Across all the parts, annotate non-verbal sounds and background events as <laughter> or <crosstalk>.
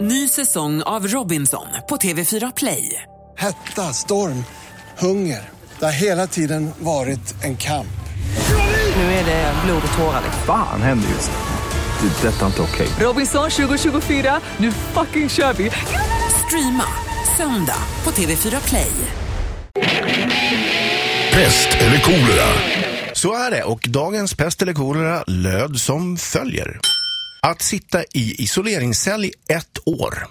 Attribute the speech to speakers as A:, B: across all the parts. A: Ny säsong av Robinson på TV4 Play.
B: Hetta, storm, hunger. Det har hela tiden varit en kamp.
A: Nu är det blod och tårar. liksom.
C: Fan händer just nu. Det. är Detta är inte okej.
A: Robinson 2024, nu fucking kör vi! Streama söndag på TV4 Play.
D: Pest eller kolera?
E: Så är det och dagens pest eller kolera löd som följer. Att sitta i isoleringscell i ett år.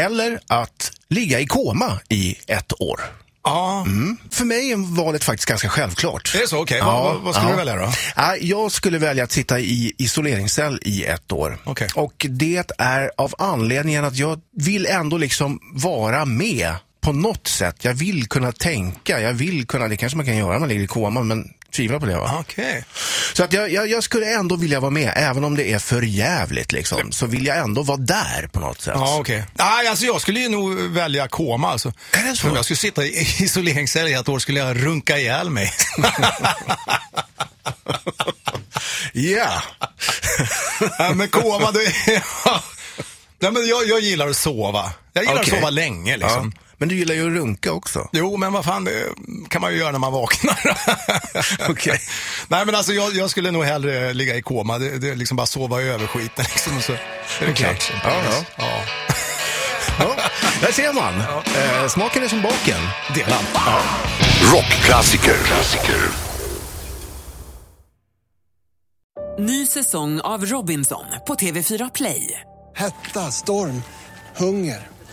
E: Eller att ligga i koma i ett år.
D: Ja,
E: För mig är valet faktiskt ganska självklart.
D: Är det så? Okej, vad- vad- vad skulle du välja då?
E: Ja, Jag skulle välja att sitta i isoleringscell i ett år.
D: Okej.
E: Och det är av anledningen att jag vill ändå liksom vara med på något sätt. Jag vill kunna tänka, jag vill kunna, det kanske man kan göra när man ligger i koma, men tvivlar på det va?
D: okej.
E: Så att jag, jag, jag skulle ändå vilja vara med, även om det är för jävligt liksom. Så vill jag ändå vara där på något sätt.
D: Ja, okej. Nej, alltså jag skulle ju nog välja koma alltså.
E: Är det så?
D: Om jag skulle sitta i <laughs> isoleringscell i ett år skulle jag runka ihjäl mig.
E: Ja.
D: Ja, men koma, <laughs> det är... Nej, men jag, jag gillar att sova. Jag gillar
E: Okej.
D: att sova länge liksom.
E: Ja. Men du gillar ju att runka också.
D: Jo, men vad fan, det kan man ju göra när man vaknar.
E: <laughs> Okej.
D: Nej, men alltså jag, jag skulle nog hellre ligga i koma. Det, det är liksom bara sova över skiten liksom. och Så är det klart.
E: Ja, ja.
D: ja.
E: Ja, där ser man. Eh, smaken är som baken.
D: Delad.
F: Rockklassiker. Klassiker.
A: Ny säsong av Robinson på TV4 Play.
B: Hetta, storm, hunger.